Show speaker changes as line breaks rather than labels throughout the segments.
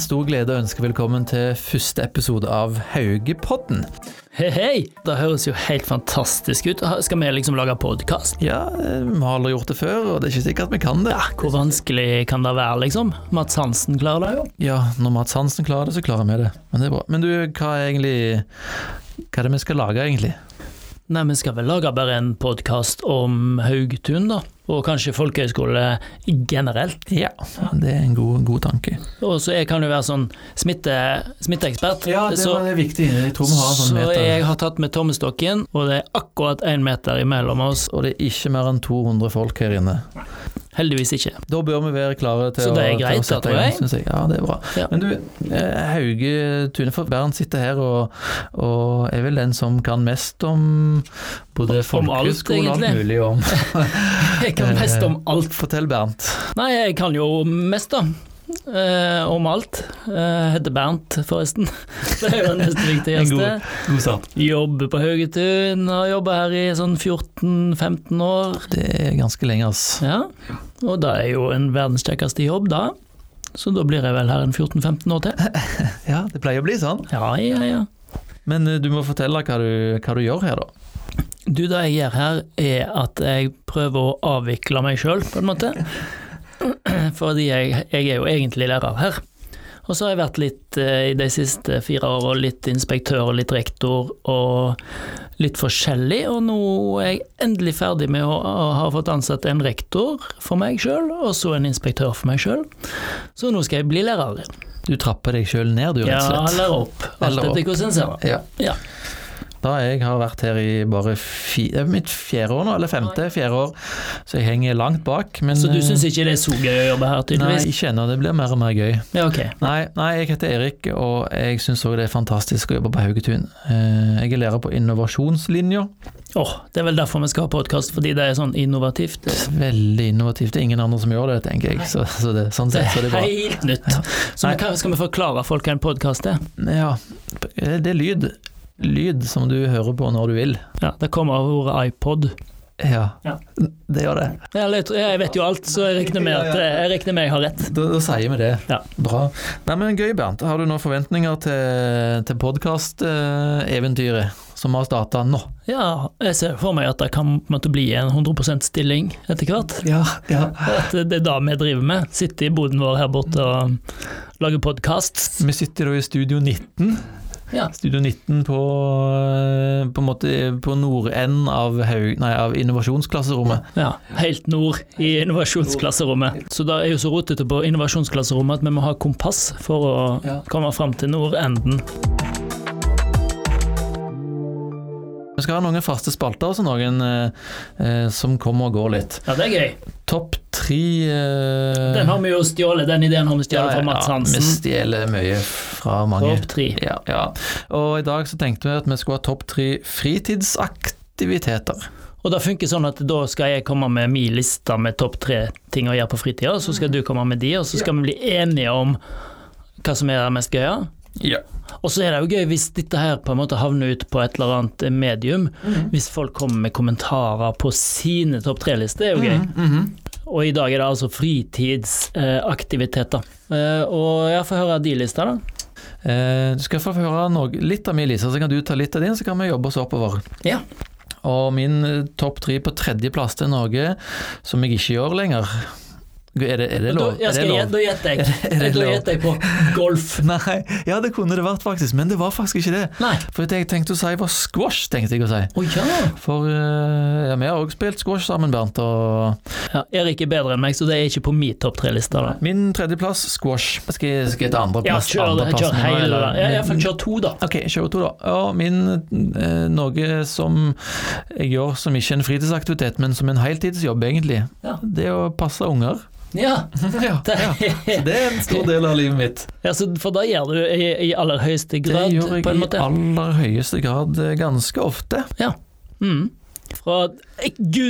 stor glede å ønske velkommen til første episode av Haugepodden.
Hei, hei! Det høres jo helt fantastisk ut. Skal vi liksom lage podkast?
Ja, eh, vi har aldri gjort det før, og det er ikke sikkert vi kan det.
Hvor vanskelig kan det være, liksom? Mats Hansen klarer det jo.
Ja, når Mats Hansen klarer det, så klarer vi det. Men det er bra. Men du, hva er egentlig Hva er det vi skal lage, egentlig?
Nei, vi skal vel lage bare en podkast om Haugtun, da. Og kanskje folkehøyskole generelt.
Ja, det er en god, god tanke.
Og så jeg kan jo være sånn smitte, smitteekspert. så,
er viktig. Jeg sånn
så jeg har tatt med tommestokken, og det er akkurat én meter imellom oss.
Og det er ikke mer enn 200 folk her inne.
Heldigvis ikke.
Da bør vi være klare til,
Så det er
å, til å
greit,
sette
da, tror
i gang,
jeg.
synes jeg. Ja, det er bra.
Ja.
Men du, eh, Hauge Tune for Bernt sitter her og, og er vel den som kan mest om både
Om alt,
folkehøyskole og alt
egentlig.
mulig om.
Jeg kan mest om alt.
Fortell, Bernt.
Nei, jeg kan jo mest, da. Eh, om alt. Eh, heter Bernt, forresten. Det er jo det neste
En
viktigste.
god- God start.
Jobber på Haugetun, har jobba her i sånn 14-15 år.
Det er ganske lenge, ass.
Ja. Og det er jo en verdens kjekkeste jobb, da. Så da blir jeg vel her en 14-15 år til.
Ja, det pleier å bli sånn.
Ja, ja, ja.
Men eh, du må fortelle hva du, hva du gjør her, da.
Du, det jeg gjør her, er at jeg prøver å avvikle meg sjøl, på en måte. Fordi jeg, jeg er jo egentlig lærer her. Og så har jeg vært litt eh, i de siste fire åra litt inspektør og litt rektor og litt forskjellig, og nå er jeg endelig ferdig med å, å ha fått ansatt en rektor for meg sjøl, og så en inspektør for meg sjøl. Så nå skal jeg bli lærer.
Du trapper deg sjøl ned, du,
Ja,
rett og slett.
eller opp. Alt
Eller opp.
etter hvordan en ser det.
Ja.
Ja.
Da jeg har vært her i bare fi, det er mitt fjerde år nå, eller femte, fjerde år, så jeg henger langt bak. Men,
Så du
eh,
syns ikke det er så gøy å jobbe her,
Nei,
tydeligvis?
ikke ennå. Det blir mer og mer gøy.
Ja, ok.
Nei, nei jeg heter Erik, og jeg syns òg det er fantastisk å jobbe på Haugetun. Eh, Jeg er lærer på innovasjonslinja.
Åh, Det er vel derfor vi skal ha podkast, fordi det er sånn innovativt.
Veldig innovativt. Det er ingen andre som gjør det, tenker jeg. Så, så det, sånn
Det
sett så er
er
det bra.
helt nytt. Så
Nei.
vi kan, skal vi forklare folk hva en podkast er?
Ja, eh, det er lyd. Lyd som du hører på når du vil.
Ja, Det kommer av ordet iPod.
Ja,
Ja.
det gjør det.
Ja, eller Jeg, tror- jeg vet jo alt, så jeg regner med at jeg, regner med jeg har rett.
Da, da sier vi det.
Ja.
Bra. Nei, men Gøy, Bernt. Har du noen forventninger til, til podkasteventyret som har starta nå?
Ja, jeg ser for meg at det kan måtte bli en 100 stilling etter hvert.
Ja, ja.
At det er det vi driver med. Sitte i boden vår her borte og lage podkast.
Vi sitter da i Studio 19.
Ja.
Studio 19 på, eh, på, en måte på nordenden av, Haug- nei, av innovasjonsklasserommet.
ja. Helt nord i innovasjonsklasserommet. Så det er jo så rotete på innovasjonsklasserommet at vi må ha kompass for
Ja.
å komme fram til nordenden.
Vi skal ha noen faste spalter også, noen eh, eh, som kommer og går litt.
Ja, det er gøy.
Topp tre eh,
Den har vi jo stjålet, den ideen har vi
ja,
stjålet fra Mats
Ja, vi
Hansen.
stjeler mye fra mange.
Topp tre.
Ja, ja. Og i dag så tenkte vi at vi skulle ha topp tre fritidsaktiviteter.
Og det funker sånn at da skal jeg komme med min liste med topp tre ting å gjøre på fritida, og så skal du komme med de, og så skal vi bli enige om hva som er det mest gøye.
Ja.
Og så er det jo gøy hvis dette her på en måte havner ut på et eller annet medium.
Mm.
Hvis folk kommer med kommentarer på sine topp tre-lister, det er jo gøy.
Mm.
Og i dag er det altså fritidsaktiviteter. Eh, og jeg får høre de lista, da.
Eh, du skal få høre noe, litt av min, Lisa, så kan du ta litt av din, så kan vi jobbe oss oppover.
Ja.
Og min eh, topp tre på tredjeplass til Norge, som jeg ikke gjør lenger Er det, er det lov?
Da, ja,
er det
skal jeg,
lov?
da gjetter jeg.
er det
Da
lov?
gjetter jeg på golf.
Nei, ja det kunne det vært faktisk, men det var faktisk ikke det.
Nei.
For det jeg tenkte å si var squash, tenkte jeg å si.
Å ja.
For eh, ja, vi har også spilt squash sammen, Bernt. Og
Ja, Erik er bedre enn meg, så det er ikke på min topp tre-liste. da.
min tredjeplass, squash. Skal jeg, skal jeg ta
Ja,
andreplass?
kjør,
andreplassen
kjør
nå,
hele, da.
eller-
Ja, iallfall kjør to, da.
Ok, kjør to da. Ja, min, eh, noe som jeg gjør som ikke er en fritidsaktivitet, men som en heltidsjobb egentlig,
Ja.
det er å passe unger.
Ja.
ja,
Det,
ja. Så det er en stor del av livet mitt.
ja, så For det gjør du i, i aller høyeste
Det
grad,
gjør jeg
på en
i
måte.
aller høyeste grad eh, ganske ofte.
Mm. Fra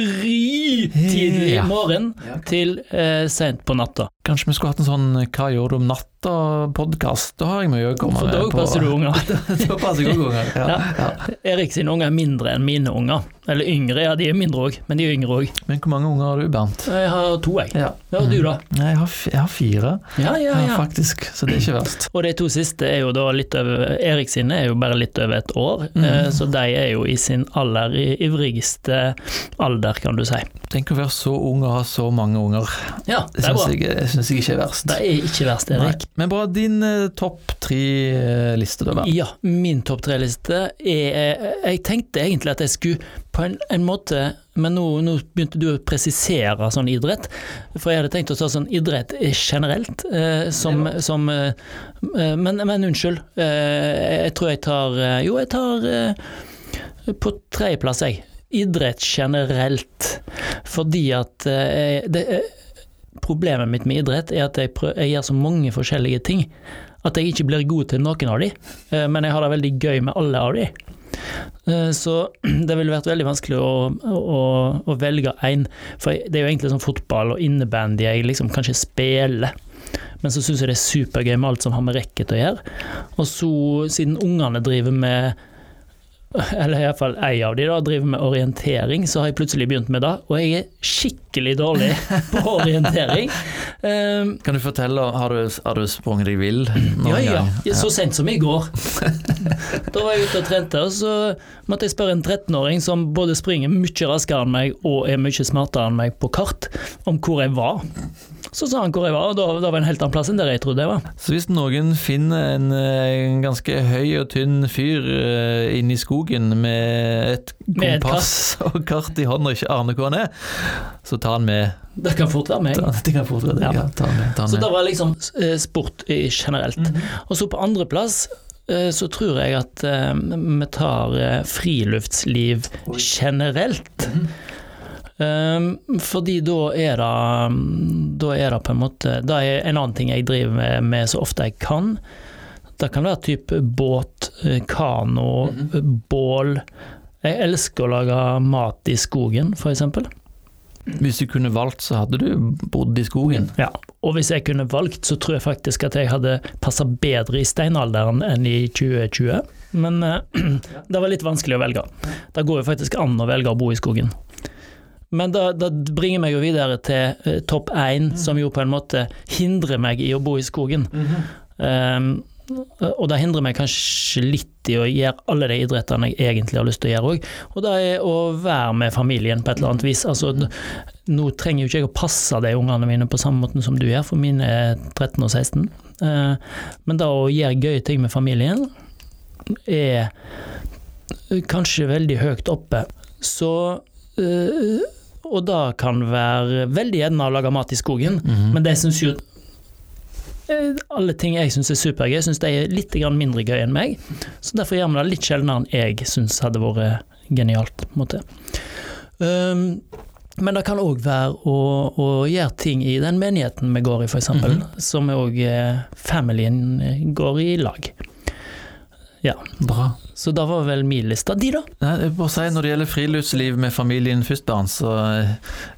gry tidlig
Ja.
morgen
Ja.
til eh, seint på natta.
Kanskje vi skulle hatt en sånn eh, 'Hva gjør du om natta?'-podkast. Da har jeg mye å komme
For da
med. på-
passer du unger.
da passer jeg også unger. Ja. Ja.
Erik sine unger er mindre enn mine unger. Eller yngre, ja de er mindre òg, men de er yngre òg.
Men hvor mange unger har du, Bernt?
Jeg har to, jeg.
Ja.
Ja, du da?
Nei, jeg har, f- jeg har fire,
Ja, ja,
ja,
ja.
faktisk. Så det er ikke verst.
Og de to siste er jo da litt over Erik sine er jo bare litt over et år,
Mhm.
eh, så de er jo i sin aller i- ivrigste alder, kan du si.
Tenk å være så ung og ha så mange unger.
Ja,
Det
det er bra.
syns jeg, det syns jeg ikke er verst.
Det er ikke verst,
Nei.
Erik.
Men bra. Din eh, topp tre-liste, da, Bernt.
Ja, min topp tre-liste er Jeg tenkte egentlig at jeg skulle på en, en måte Men nå, nå begynte du å presisere sånn idrett. For jeg hadde tenkt å ta sånn idrett generelt, eh, som, som eh, men, men unnskyld. Eh, jeg tror jeg tar eh, Jo, jeg tar eh, på tredjeplass, jeg. Idrett generelt. Fordi at eh, det, eh, Problemet mitt med idrett er at jeg, prø- jeg gjør så mange forskjellige ting at jeg ikke blir god til noen av de, eh, men jeg har det veldig gøy med alle av de. Eh, Så det ville vært veldig vanskelig å, å, å velge én, for jeg- det er jo egentlig sånn fotball og innebandy jeg liksom kanskje spiller. Men så syns jeg det er supergøy med alt som har med racket å gjøre. Og så, siden ungene driver med eller iallfall ei av de da, driver med orientering, så har jeg plutselig begynt med det. Og jeg er skikkelig dårlig på orientering. Um,
Kan du fortelle, har du, har du sprunget deg vill noen
ja, ja,
gang?
ja. Så sent som i går. da var jeg ute og trente, og så måtte jeg spørre en 13-åring som både springer mye raskere enn meg og er mye smartere enn meg på kart, om hvor jeg var. Så sa han hvor jeg var, og da, da var jeg en helt annen plass enn der jeg trodde jeg var.
Så hvis noen finner en, eh, en ganske høy og tynn fyr eh, inne i skogen med et
Med et
kompass og kart i hånda og ikke aner hvor han er, E, så ta han med.
Det kan fort være meg.
Ta, det kan fort være det.
Ja.
Ja, ta han med. Ta han
Så det
med. Mhm.
var liksom eh, sport eh, generelt.
Mm.
Og så på andreplass så tror jeg at eh, vi tar eh, friluftsliv
Oi.
generelt. Um, fordi da er det Da er det på en måte Det er en annen ting jeg driver med, med så ofte jeg kan. Det kan være type båt, eh, kano, eh, bål. Jeg elsker å lage mat i skogen, f.eks.
Hvis du kunne valgt, så hadde du bodd i skogen.
Ja. Og hvis jeg kunne valgt, så tror jeg faktisk at jeg hadde passa bedre i steinalderen enn i 2020. Men eh, det var litt vanskelig å velge. Det går jo faktisk an å velge å bo i skogen. Men det, det bringer meg jo videre til eh, topp én, som jo på en måte hindrer meg i å bo i skogen. Um, og det hindrer meg kanskje litt i å gjøre alle de idrettene jeg egentlig har lyst til å gjøre òg. Og det er å være med familien på et eller annet vis. Altså, n- nå trenger jo ikke jeg å passe de ungene mine på samme måten som du gjør, for mine er 13 og 16. Eh, Men det å gjøre gøye ting med familien er kanskje veldig høyt oppe. Så eh, Og det kan være veldig gjerne å lage mat i skogen,
Mhm.
men det syns jo eh, alle ting jeg syns er supergøy, syns de er litt grann mindre gøy enn meg. Så derfor gjør vi det litt sjeldnere enn jeg syns hadde vært eh, genialt. på en måte. Um, men det kan òg være å, å gjøre ting i den menigheten vi går i, f.eks., eksempel
Mhm.
som òg familien eh, går i lag.
Bra.
Så det var vel min liste. De, da?
Nei, jeg må bare si, Når det gjelder friluftsliv med familien først, Bernt, så eh,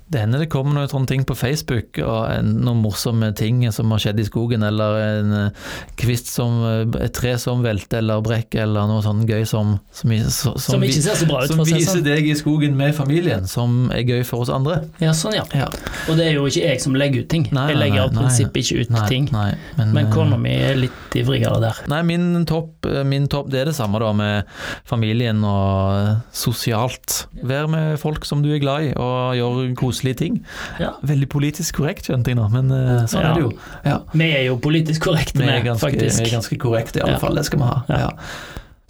det hender det kommer noen sånne ting på Facebook, og en- noen morsomme ting som har skjedd i skogen, eller en eh, kvist som eh, Et tre som velter, eller brekker, eller noe sånt gøy som Som, vi- så- som,
Som, ikke
vi-
ser så bra ut,
som
for å si det
viser
sånn.
deg i skogen med familien, som er gøy for oss andre.
Ja, sånn, ja.
Ja.
Og det er jo ikke jeg som legger ut ting.
Nei,
jeg
nei,
legger av
nei,
prinsipp ikke ut
Nei,
ting.
nei, men,
Men
eh,
kona mi er litt ivrigere der.
Nei, min topp, eh, min topp det er det samme da med familien og sosialt. Vær med folk som du er glad i, og gjør koselige ting.
Ja.
Veldig politisk korrekt, skjønte jeg nå, men eh, sånn
Ja.
er det jo. Ja.
Vi er jo politisk korrekte,
Vi er
vi,
ganske, vi er
faktisk.
ganske korrekte, i alle
Ja.
fall. Det skal vi ha.
Ja.
Ja.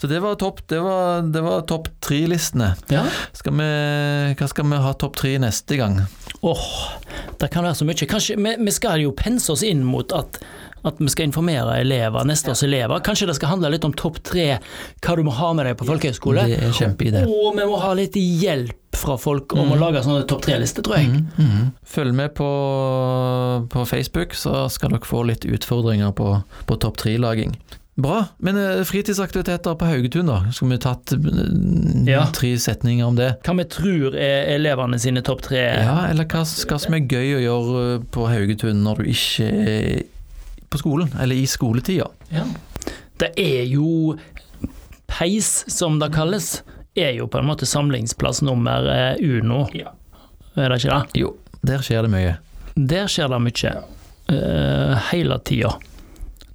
Så det var topp det var, det var topp tre-listene.
Ja.
Skal vi- Hva skal vi ha topp tre neste gang?
Åh, det kan være så mye. Kanskje, vi, vi skal jo pense oss inn mot at, at vi skal informere elever, neste års elever. Kanskje det skal handle litt om topp tre, hva du må ha med deg på folkehøyskole.
Det er Mm. en kjempeidé.
Og vi må ha litt hjelp fra folk om å lage sånne topp tre-lister, tror jeg.
Mhm, mhm. Følg med på, på Facebook, så skal dere få litt utfordringer på, på topp tre-laging. Bra. Men eh, fritidsaktiviteter på Haugetun, da? Skulle vi tatt eh,
Ja.
tre setninger om det?
Hva vi tror er elevene sine topp tre.
Ja, eller hva, hva som er gøy å gjøre eh, på Haugetun når du ikke er på skolen, eller i skoletida?
Ja. Det er jo peis, som det kalles, er jo på en måte samlingsplass nummer eh, Uno,
Ja.
er det ikke det?
Jo, der skjer det mye.
Der skjer det mye. eh, hele tida.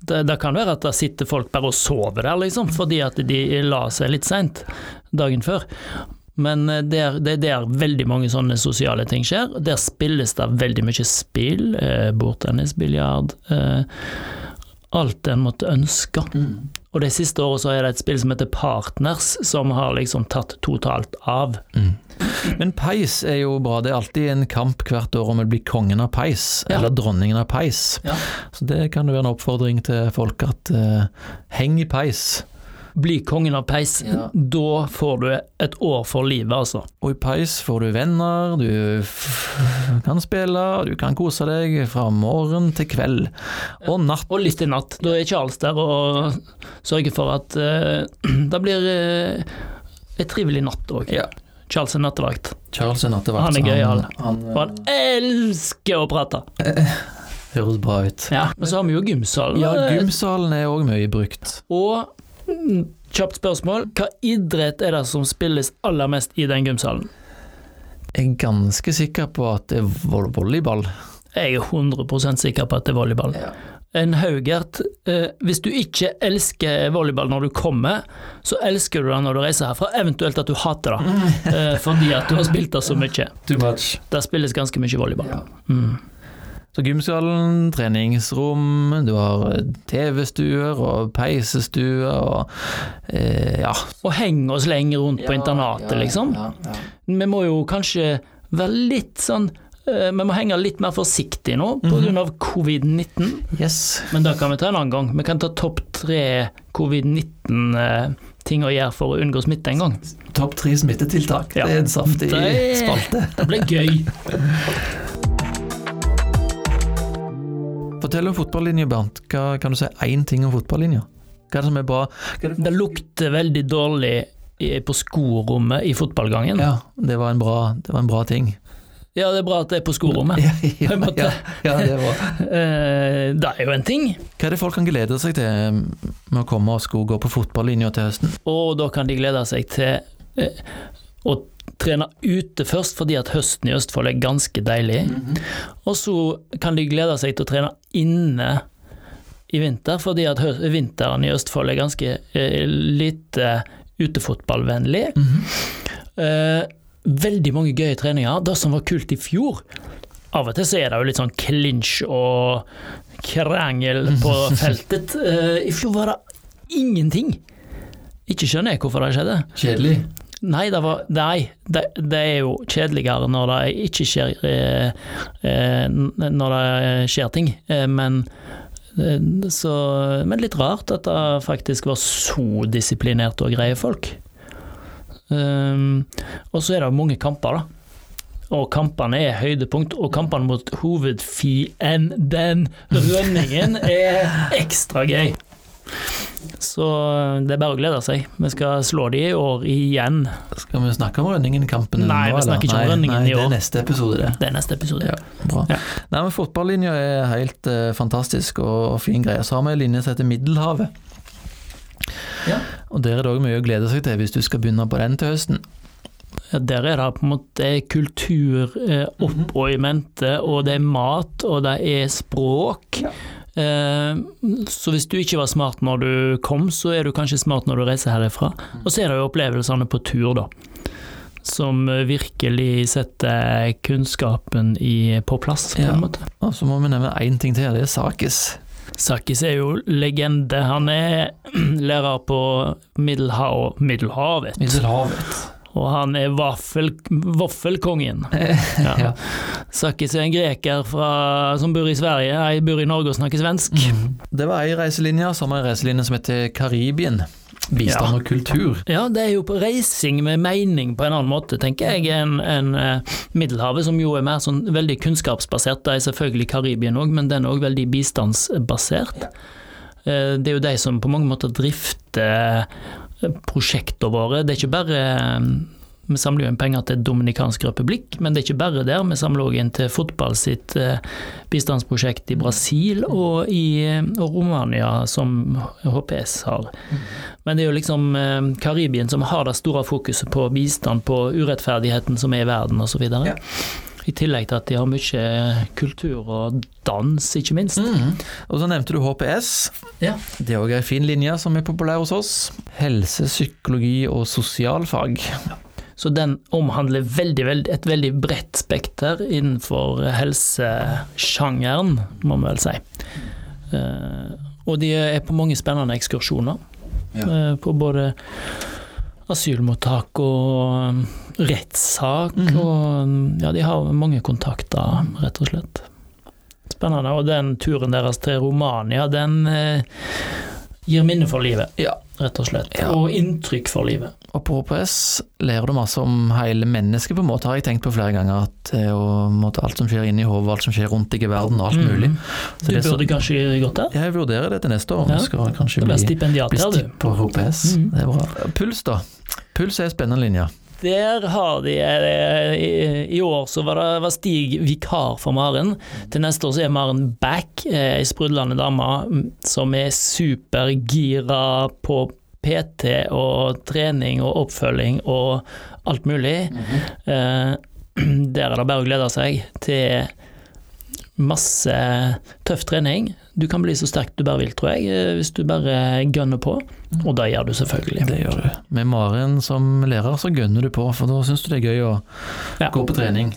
Det, det kan være at det sitter folk bare og sover der, liksom, fordi at de la seg litt seint dagen før. Men eh, der, det er der veldig mange sånne sosiale ting skjer. Der spilles det veldig mye spill. eh, Bordtennis, biljard. eh, Alt en måtte ønske. Og de siste årene så er det et spill som heter Partners, som har liksom tatt totalt av.
Mm. Men peis er jo bra. Det er alltid en kamp hvert år om å bli kongen av peis,
Ja.
eller dronningen av peis.
Ja.
Så det kan jo være en oppfordring til folk at eh, heng i peis.
Bli kongen av peis.
Ja.
Da får du et år for livet, altså.
Og i peis får du venner, du f kan spille, du kan kose deg fra morgen til kveld og natt.
Og litt i natt. Da er Charles der og sørger for at eh, det blir eh, en trivelig natt òg.
Ja.
Charles er nattevakt,
Charles er nattevakt.
Han er
så
gøyal.
Han, eh,
og han elsker å prate.
høres bra ut.
Men så har vi jo gymsalen.
Ja, gymsalen er òg mye brukt.
Og mm, kjapt spørsmål, hva idrett er det som spilles aller mest i den gymsalen?
Jeg er ganske sikker på at det er vo- volleyball.
Jeg er 100 sikker på at det er volleyball.
Ja.
En Haugert, eh, hvis du ikke elsker volleyball når du kommer, så elsker du det når du reiser herfra, eventuelt at du hater det, eh, fordi at du har spilt det så mye.
Too much.
Der spilles ganske mye volleyball.
Ja.
Mm.
Så gymsalen, treningsrom, du har eh, TV-stuer og peisestuer og eh, ja.
Og henge og slenge rundt på internatet, liksom. Vi må jo kanskje være litt sånn eh, Vi må henge litt mer forsiktig nå pga.
Mhm.
av covid-19,
Yes.
men det kan vi ta en annen gang. Vi kan ta topp tre covid-19-ting å gjøre for å unngå smitte en gang.
Topp tre smittetiltak.
Ja.
Det er en saftig
Det-
spalte.
Det blir gøy.
Fortell om fotballinja, Bernt. Hva, kan du si én ting om fotballinja? Hva er det som er bra?
Det lukter veldig dårlig i- på skorommet i fotballgangen. Ja.
Ja, det var en bra, det var en bra ting.
det er bra at det er på skorommet.
Ja, ja,
Jeg måtte-
ja, ja, det var
Eh, Det er jo en ting.
Hva er det folk kan glede seg til med å komme og skulle gå på fotballinja til høsten?
Og da kan de glede seg til eh, å trene ute først, fordi at høsten i Østfold er ganske deilig. Og så kan de glede seg til å trene inne i vinter, fordi at hø- vinteren i Østfold er ganske eh, lite utefotballvennlig. Eh, veldig mange gøye treninger. Det som var kult i fjor Av og til så er det jo litt sånn clinch og krangel på feltet. Eh, I fjor var det ingenting. Ikke skjønner jeg hvorfor det skjedde.
Kjedelig.
Nei, det, var, nei, det, det er jo kjedeligere når det ikke skjer eh, eh, n- Når det skjer ting, eh, men eh, så, men litt rart at det faktisk var så disiplinerte og greie folk. Ehm, og så er det mange kamper, da. Og kampene er høydepunkt, og kampene mot hovedfienden, Rønningen, er ekstra gøy. Så eh, det er bare å glede seg. Vi skal slå de i år igjen.
Skal vi snakke om Rønningen-kampen?
Nei, vi
eller?
snakker ikke om
Nei,
Rønningen
nei,
i år.
Det er neste episode, det.
Det er neste episode.
Ja. Bra.
Ja.
Nei, men Fotballinja er helt eh, fantastisk og, og fin greie. Så har vi en linje som heter Middelhavet.
Ja.
Og Der er det òg mye å glede seg til hvis du skal begynne på den til høsten.
Ja, Der er det på en måte kultur eh, opp og i mente, og det er mat, og det er språk. Eh, så hvis du ikke var smart når du kom, så er du kanskje smart når du reiser herifra. Og så er det jo opplevelsene på tur, da. Som virkelig setter kunnskapen i, på plass, på
Ja.
en måte.
Og så må vi nevne én ting til, det er Sakis.
Sakis er jo legende. Han er lærer på Middelhav, Middelhavet.
Middelhavet.
Og han er vaffel, vaffelkongen. Ja.
Ja.
Sakis er en greker fra, som bor i Sverige. Jeg bor i Norge og snakker svensk.
Mm. Det var ei reiselinje, så har vi ei reiselinje som heter Karibien. Bistand
Ja.
og kultur.
Ja, det er jo på reising med mening på en annen måte, tenker jeg, enn enn, eh, Middelhavet, som jo er mer sånn veldig kunnskapsbasert. Det er selvfølgelig Karibien òg, men den er òg veldig bistandsbasert. eh, det er jo de som på mange måter drifter eh, prosjektene våre. Det er ikke bare eh, Vi samler jo inn penger til Dominikansk republikk, men det er ikke bare der. Vi samler òg inn til fotball sitt eh, bistandsprosjekt i Brasil og i eh, og Romania, som HPS har. Men det er jo liksom eh, Karibien som har det store fokuset på bistand, på urettferdigheten som er i verden osv.
Ja.
videre I tillegg til at de har mye kultur og dans, ikke minst.
Mhm. Og så nevnte du HPS.
Ja.
Det er òg ei fin linje som er populær hos oss. Helse, psykologi og sosialfag.
Så den omhandler veldig, veldig, et veldig bredt spekter innenfor helsesjangeren, må man vel si. Eh, og de er på mange spennende ekskursjoner. eh, på både asylmottak og um, rettssak
Mhm.
og um, Ja, de har mange kontakter, rett og slett. Spennende. Og den turen deres til Romania, den eh, gir minner for livet,
Ja.
rett og slett.
Ja.
Og inntrykk for livet.
Og på HPS lærer du masse om hele mennesket, på en måte, har jeg tenkt på flere ganger. At det er jo, på en måte, alt som skjer inni hodet, alt som skjer rundt deg i verden, og alt mulig.
Mm.
Så
Du
det er så-
burde kanskje gått der?
Jeg vurderer det til neste år.
Ja.
Vi skal kanskje
Du ble
bli,
stipendiat
bli
der, du.
stipp på HPS.
Mhm.
Det er bra. Puls, da. Puls er en spennende linje.
Der har de eh, I, i år så var, det, var Stig vikar for Maren. Til neste år så er Maren back, eh, ei sprudlende dame mm, som er supergira på PT og trening og oppfølging og alt mulig. Eh, Der er det bare å glede seg til masse tøff trening. Du kan bli så sterk du bare vil, tror jeg, eh, hvis du bare gønner på. Og det gjør du selvfølgelig.
Mm. Det gjør du. Med Maren som lærer, så gønner du på, for da syns du det er gøy å
Ja.
gå på trening.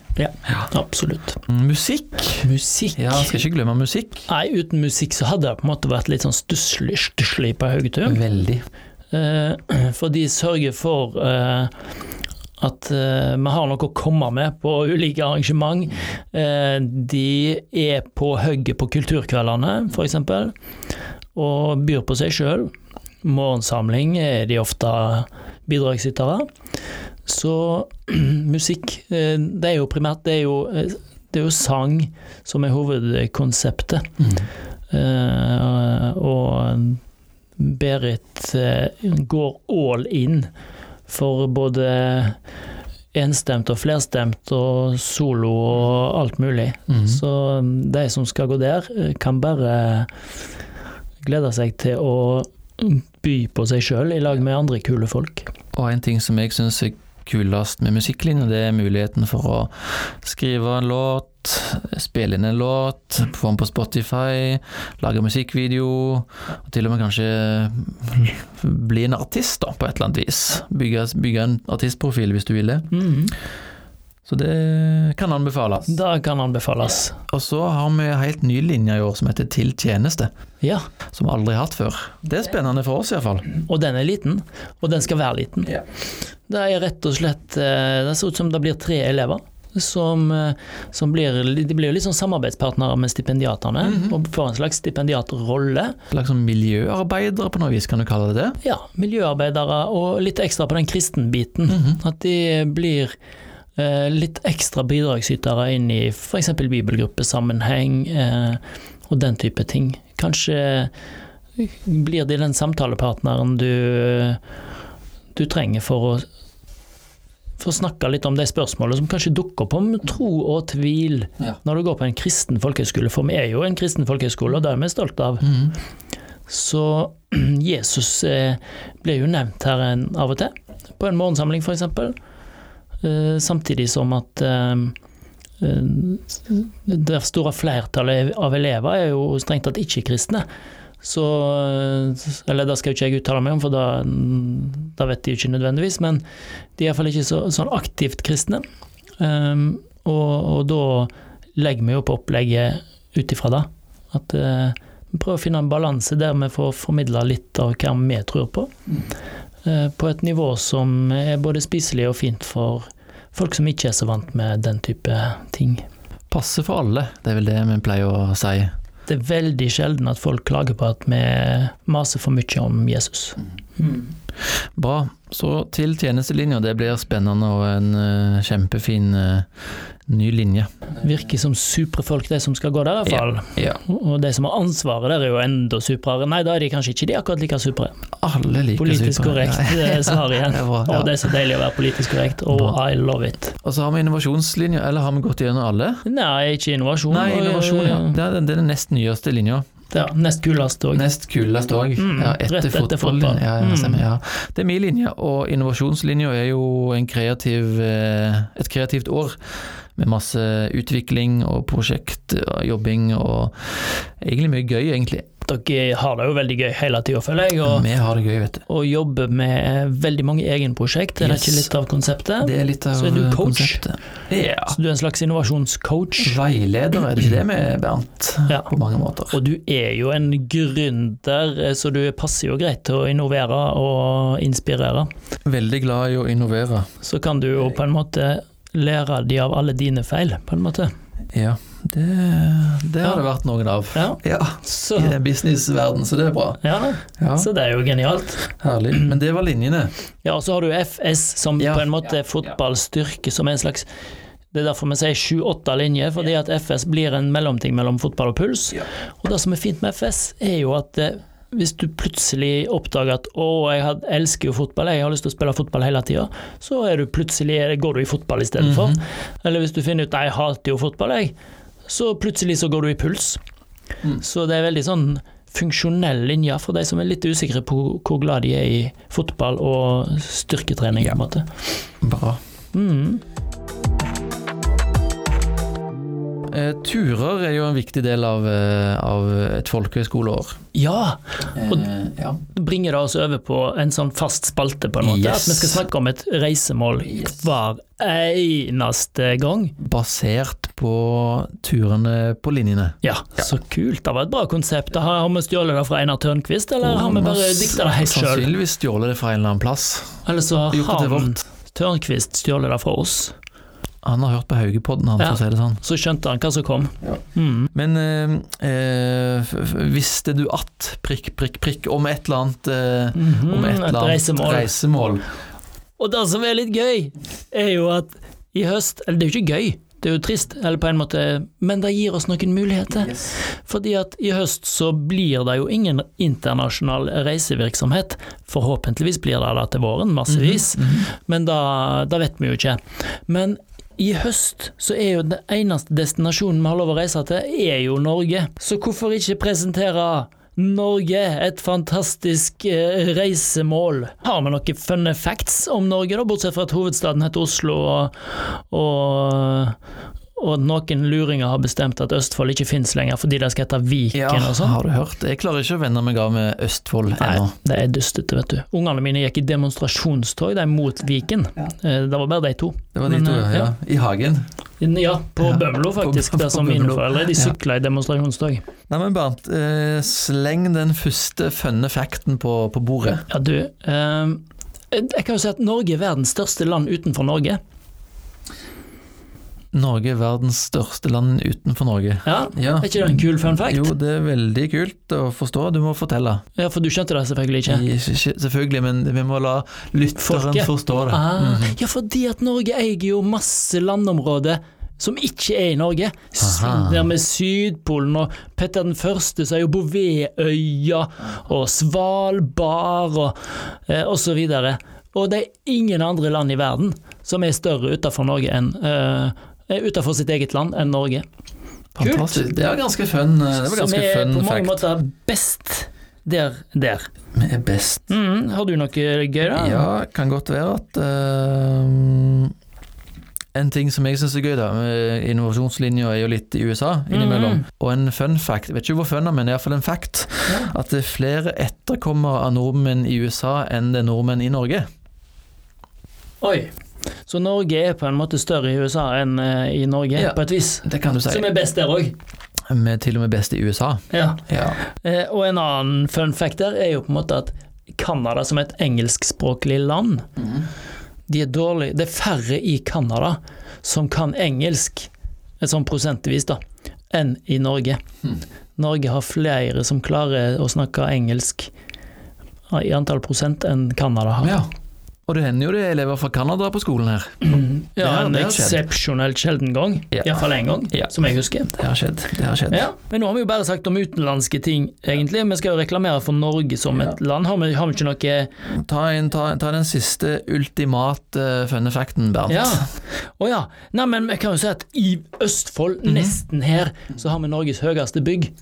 Absolutt.
Mm, Musikk.
Musikk.
Ja, skal ikke glemme musikk.
Nei, uten musikk så hadde det på en måte vært litt sånn stusslig, stusslig på Haugetur.
Veldig.
Eh, for de sørger for eh, at eh, vi har noe å komme med på ulike arrangement. Eh, de er på hugget på kulturkveldene, f.eks., og byr på seg sjøl. Morgensamling er de ofte bidragsytere. Så musikk, eh, det er jo primært det er jo, eh, det er jo sang som er hovedkonseptet. Eh, og Berit eh, går all in for både enstemt og flerstemt og solo og alt mulig.
Mhm.
Så mm, de som skal gå der, eh, kan bare glede seg til å mm, by på seg sjøl i lag med andre kule folk.
Og en ting som jeg syns er kulest med musikklinja, det er muligheten for å skrive en låt, spille inn en låt, få den på Spotify, lage musikkvideo, og til og med kanskje bli en artist da, på et eller annet vis. Bygge, bygge en artistprofil hvis du vil det. Så det kan anbefales.
Da kan anbefales.
Og så har vi en helt ny linje i år som heter Til tjeneste,
Ja,
som vi aldri har hatt før. Det er spennende for oss iallfall.
og den er liten, og den skal være liten.
Ja.
Det er rett og slett eh, Det ser ut som det blir tre elever. Som, eh, som blir, de blir jo litt sånn samarbeidspartnere med stipendiatene,
Mhm.
og får en slags stipendiatrolle.
Slags sånn miljøarbeidere på noe vis, kan du kalle det det?
Ja, miljøarbeidere, og litt ekstra på den kristenbiten.
Mhm.
At de blir eh, litt ekstra bidragsytere inn i f.eks. bibelgruppesammenheng eh, og den type ting. Kanskje eh, blir de den samtalepartneren du, du trenger for å for å snakke litt om de spørsmålene som kanskje dukker opp om tro og tvil
Ja.
når du går på en kristen folkehøyskole. For vi er jo en kristen folkehøyskole, og det er vi stolte av.
Mhm.
Så Jesus eh, ble jo nevnt her en, av og til, på en morgensamling f.eks. Eh, samtidig som at eh, eh, det store flertallet av elever er jo strengt tatt ikke-kristne. Så eh, Eller det skal jo ikke jeg uttale meg om, for da, da vet de jo ikke nødvendigvis. Men de er iallfall ikke så, sånn aktivt kristne. Um, og, og da legger vi jo på opplegget ut ifra det. At eh, vi prøver å finne en balanse der vi får formidla litt av hva vi tror på.
Mm.
eh, På et nivå som er både spiselig og fint for folk som ikke er så vant med den type ting.
Passe for alle, det er vel det vi pleier å si.
Det er veldig sjelden at folk klager på at vi maser for mye om Jesus.
Bra. Så til tjenestelinja. Det blir spennende og en eh, kjempefin eh, ny linje.
Virker som supre folk, de som skal gå der i hvert
Ja.
fall.
Ja.
Og de som har ansvaret der, er jo enda suprere. Nei, da er de kanskje ikke de akkurat like supre.
Alle liker
Politisk
super.
korrekt eh, svar igjen.
Det er bra,
Og
ja.
det er så deilig å være politisk korrekt. Oh,
Bra.
I love it.
Og så har vi innovasjonslinja, eller har vi gått gjennom alle?
Nei, ikke innovasjon. Eh,
Nei,
Og,
innovasjon, eh, ja. Det er den, det er den nest nyeste linja.
Ja, nest kulest òg.
Nest kulest òg.
Mm,
ja,
rett
etter
etter
fotballen.
fotball.
Ja, ja,
Mm.
stemmer, ja. Det er min linje, og innovasjonslinja er jo en kreativ, eh, et kreativt år. Med masse utvikling og prosjektjobbing og egentlig mye gøy, egentlig.
Dere har det jo veldig gøy hele tida, føler jeg. Og,
Vi har det gøy, vet du.
og jobber med veldig mange egenprosjekt, er det
Yes.
ikke litt av konseptet?
Det er litt av
Så er du coach?
konseptet. Ja.
Så du er en slags innovasjonscoach,
Veileder, er det ikke det vi er, Bernt?
Ja.
På mange måter.
og du er jo en gründer, eh, så du passer jo greit til å innovere og inspirere.
Veldig glad i å innovere.
Så kan du jo på en måte lære de av alle dine feil, på en måte.
Ja, det, det har det vært noen av.
Ja,
Ja,
så,
i businessverden, så det er bra.
ja,
Ja,
så det er jo genialt.
herlig. Men det var linjene.
Ja, og så har du FS som
Ja,
på en
ja,
måte
ja.
er fotballstyrke, som er en slags det er derfor vi sier sju-åtte linjer, fordi at FS blir en mellomting mellom fotball og puls.
Ja.
Og det som er fint med FS, er jo at eh, hvis du plutselig oppdager at 'Å, jeg had, elsker jo fotball, jeg har lyst til å spille fotball hele tida', så er du plutselig, er det- går du i fotball
Mhm.
istedenfor. Eller hvis du finner ut 'Nei, jeg hater jo fotball, jeg', så plutselig så går du i puls.
Mm.
Så det er veldig sånn funksjonell linje for de som er litt usikre på hvor glad de er i fotball og styrketrening,
Ja.
på en måte.
Bra.
Mm.
Eh, turer er jo en viktig del av, eh, av et folkehøyskoleår.
Ja! Og-
ja.
bringer det oss over på en sånn fast spalte, på en måte.
Yes.
At vi skal snakke om et reisemål
Yes.
hver eneste gang.
Basert på turene på linjene.
Ja, så kult. Det var et bra konsept. Da Har har vi stjålet det fra Einar Tørnquist, eller har vi bare
Thomas
dikta det helt sjøl?
Sannsynligvis stjålet det fra en eller annen plass.
Eller
Gjort
så
det
har
til
han
vårt.
Tørnquist stjålet det fra oss.
Han har hørt på Haugepodden, han, for
Ja.
å si det sånn.
Så skjønte han hva som kom.
Ja.
Mm.
Men eh, eh, f- f- visste du at prikk, prikk, prikk om et eller annet eh,
Mhm,
Om et eller annet
reisemål.
reisemål.
Og det som er litt gøy, er jo at i høst Eller det er jo ikke gøy, det er jo trist, eller på en måte, men det gir oss noen muligheter.
Mhm.
Fordi at i høst så blir det jo ingen internasjonal reisevirksomhet. Forhåpentligvis blir det det til våren, massevis,
Mhm.
men da, da vet vi jo ikke. Men i høst så er jo den eneste destinasjonen vi har lov å reise til, er jo Norge. Så hvorfor ikke presentere Norge, et fantastisk eh, reisemål. Har vi noen funne facts om Norge, da, bortsett fra at hovedstaden heter Oslo og, og og at noen luringer har bestemt at Østfold ikke finnes lenger fordi det skal hete Viken
Ja,
og sånn.
har du hørt? Jeg klarer ikke å vende meg av med Østfold
Nei,
ennå.
det er dustete, vet du. Ungene mine gikk i demonstrasjonstog de mot Viken. Eh, Det var bare de to.
Det var de
Men,
to,
eh,
ja. I hagen.
Ja, på
Ja,
Bømlo faktisk,
på-
der som
på
mine
Bømlo.
foreldre. De
Ja.
sykla i demonstrasjonstog.
Nei, men Bernt, eh, sleng den første funne facten på, på bordet.
Ja, du. eh, Jeg kan jo si at Norge er verdens største land utenfor Norge.
Norge er verdens største land utenfor Norge.
Ja,
Ja.
Er ikke det en kul fun fact?
Jo, det er veldig kult å forstå. Du må fortelle.
Ja, For du skjønte det selvfølgelig ikke.
I- ikke- Selvfølgelig, men vi må la lytteren
Folket.
forstå det.
Ah,
Mhm.
ja, fordi at Norge eier jo masse landområder som ikke er i Norge. S-
Aha.
Der med Sydpolen og Petter den første, så er jo Bouvetøya og Svalbard og, eh, og så videre. Og det er ingen andre land i verden som er større utenfor Norge enn eh, eh, utenfor sitt eget land enn Norge.
Fantastisk. Det er ganske fun, eh, det var
som
ganske
er på
fun
mange
fact.
måter best der. der.
Vi er best.
Mm, har du noe gøy, da?
Ja, kan godt være at eh, En ting som jeg syns er gøy, da, med innovasjonslinja er jo litt i USA innimellom.
Mhm.
Og en fun fact, vet ikke hvor fun, den er, men det er iallfall en fact,
Ja.
at det er flere etterkommere av nordmenn i USA enn det er nordmenn i Norge.
Oi. Så Norge er på en måte større i USA enn eh, i Norge,
Ja.
på et vis.
Det kan du si.
Som er best der òg.
Vi er til og med best i USA.
Ja.
Ja.
Eh, og en annen fun fact der er jo på en måte at Canada som et engelskspråklig land,
Mhm.
de er dårlig, det er færre i Canada som kan engelsk, eh, sånn prosentvis, da, enn i Norge.
Hmm.
Norge har flere som klarer å snakke engelsk i antall prosent enn Canada har.
Ja. Og det hender jo det er elever fra Canada på skolen her. Det
Ja,
har-
en
det har skjedd.
eksepsjonelt sjelden gang.
Ja.
Iallfall én gang,
Ja.
som jeg husker.
Det har skjedd. Det har skjedd.
Ja, men nå har vi jo bare sagt om utenlandske ting, egentlig. Vi skal jo reklamere for Norge som et land. Har vi, har vi ikke noe
Ta, inn, ta, ta den siste ultimate funne facten, Bernt.
Ja. Å ja. Nei, men vi kan jo si at i Østfold,
Mhm.
nesten her, så har vi Norges høyeste bygg,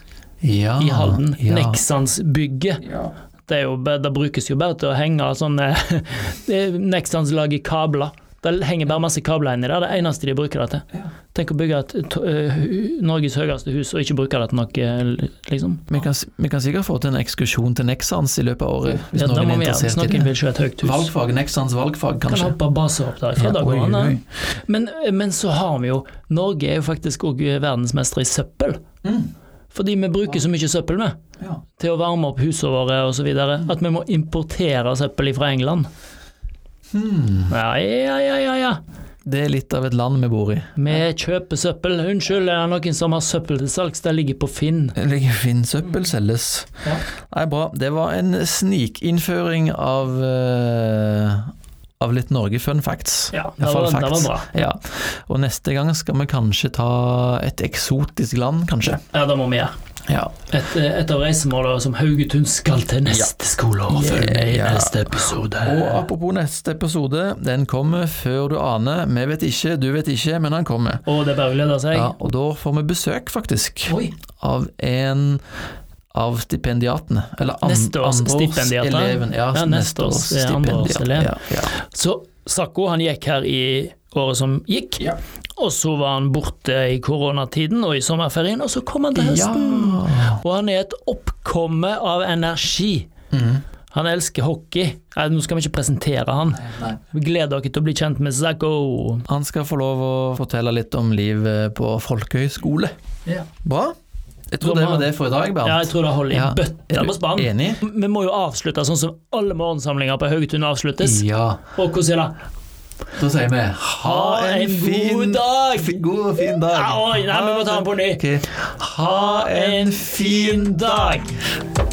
Ja,
i Halden.
Ah, ja.
Nexansbygget.
Ja.
Det, er jo, bare- det brukes jo bare til å henge sånne Nexans lager kabler. Det henger bare masse kabler inni der. Det er det eneste de bruker det til. Tenk å bygge et to- eh, hu- Norges høyeste hus og ikke bruke det til noe, liksom.
Vi kan, s- vi kan sikkert få til en ekskursjon til Nexans i løpet av året, hvis
Ja, da
noen
må
er
vi gjøre det.
interessert i
Snakken
det.
vil ikke ha et høyt hus.
Valgfag, Nexans valgfag,
Kan
kanskje.
hoppe base opp derifra.
Ja,
da
oi,
går han,
oi.
ja. men, men så har vi jo Norge er jo faktisk òg verdensmestre i søppel.
Mm,
Fordi vi bruker så mye søppel med
ja.
til å varme opp husene våre osv. At vi må importere søppel fra England.
Hmm.
Ja, ja, ja, ja, ja.
Det er litt av et land vi bor i.
Vi kjøper søppel. Unnskyld, er det noen som har søppel til salgs? Det ligger på Finn.
Ligger Finn søppel selges.
Ja.
Nei, bra. Det var en snikinnføring av eh, av litt Norge fun facts.
Ja,
I
det
hvert fall
var, det var
facts.
bra.
Ja. Og neste gang skal vi kanskje ta et eksotisk land, kanskje.
Ja, det må vi gjøre.
Ja.
Et, et av reisemålene som Haugetun skal til neste skoleår. Følg med i
Ja.
neste episode.
Og apropos neste episode, den kommer før du aner. Vi vet ikke, du vet ikke, men han kommer.
Og det er bare å glede seg.
Ja, og da får vi besøk, faktisk,
Oi.
av en av stipendiatene. Eller an,
Neste års stipendiater.
andreårseleven. Ja,
Ja,
neste,
neste
års
års, eh, andreårselev.
stipendiat. Ja, ja.
Så Sakko han gikk her i året som gikk,
Ja.
og så var han borte i koronatiden og i sommerferien, og så kom han til høsten.
Ja.
Og han er et oppkomme av energi.
Mhm.
Han elsker hockey. Nei, nå skal vi ikke presentere han. Vi gleder dere til å bli kjent med Sakko.
Han skal få lov å fortelle litt om livet på folkehøyskole.
Ja.
Bra. Jeg tror det var det for i dag, Bernt.
jeg tror det holder i
Ja.
bøtta på spann.
Enig?
Vi må jo avslutte sånn som alle morgensamlinger på Haugetun avsluttes.
Ja.
Og hvordan er det?
Da sier vi ha en
god
fin
dag!
fi- God og fin dag.
Au, nei, vi må ta den på ny.
Ok. Ha en fin dag.
dag!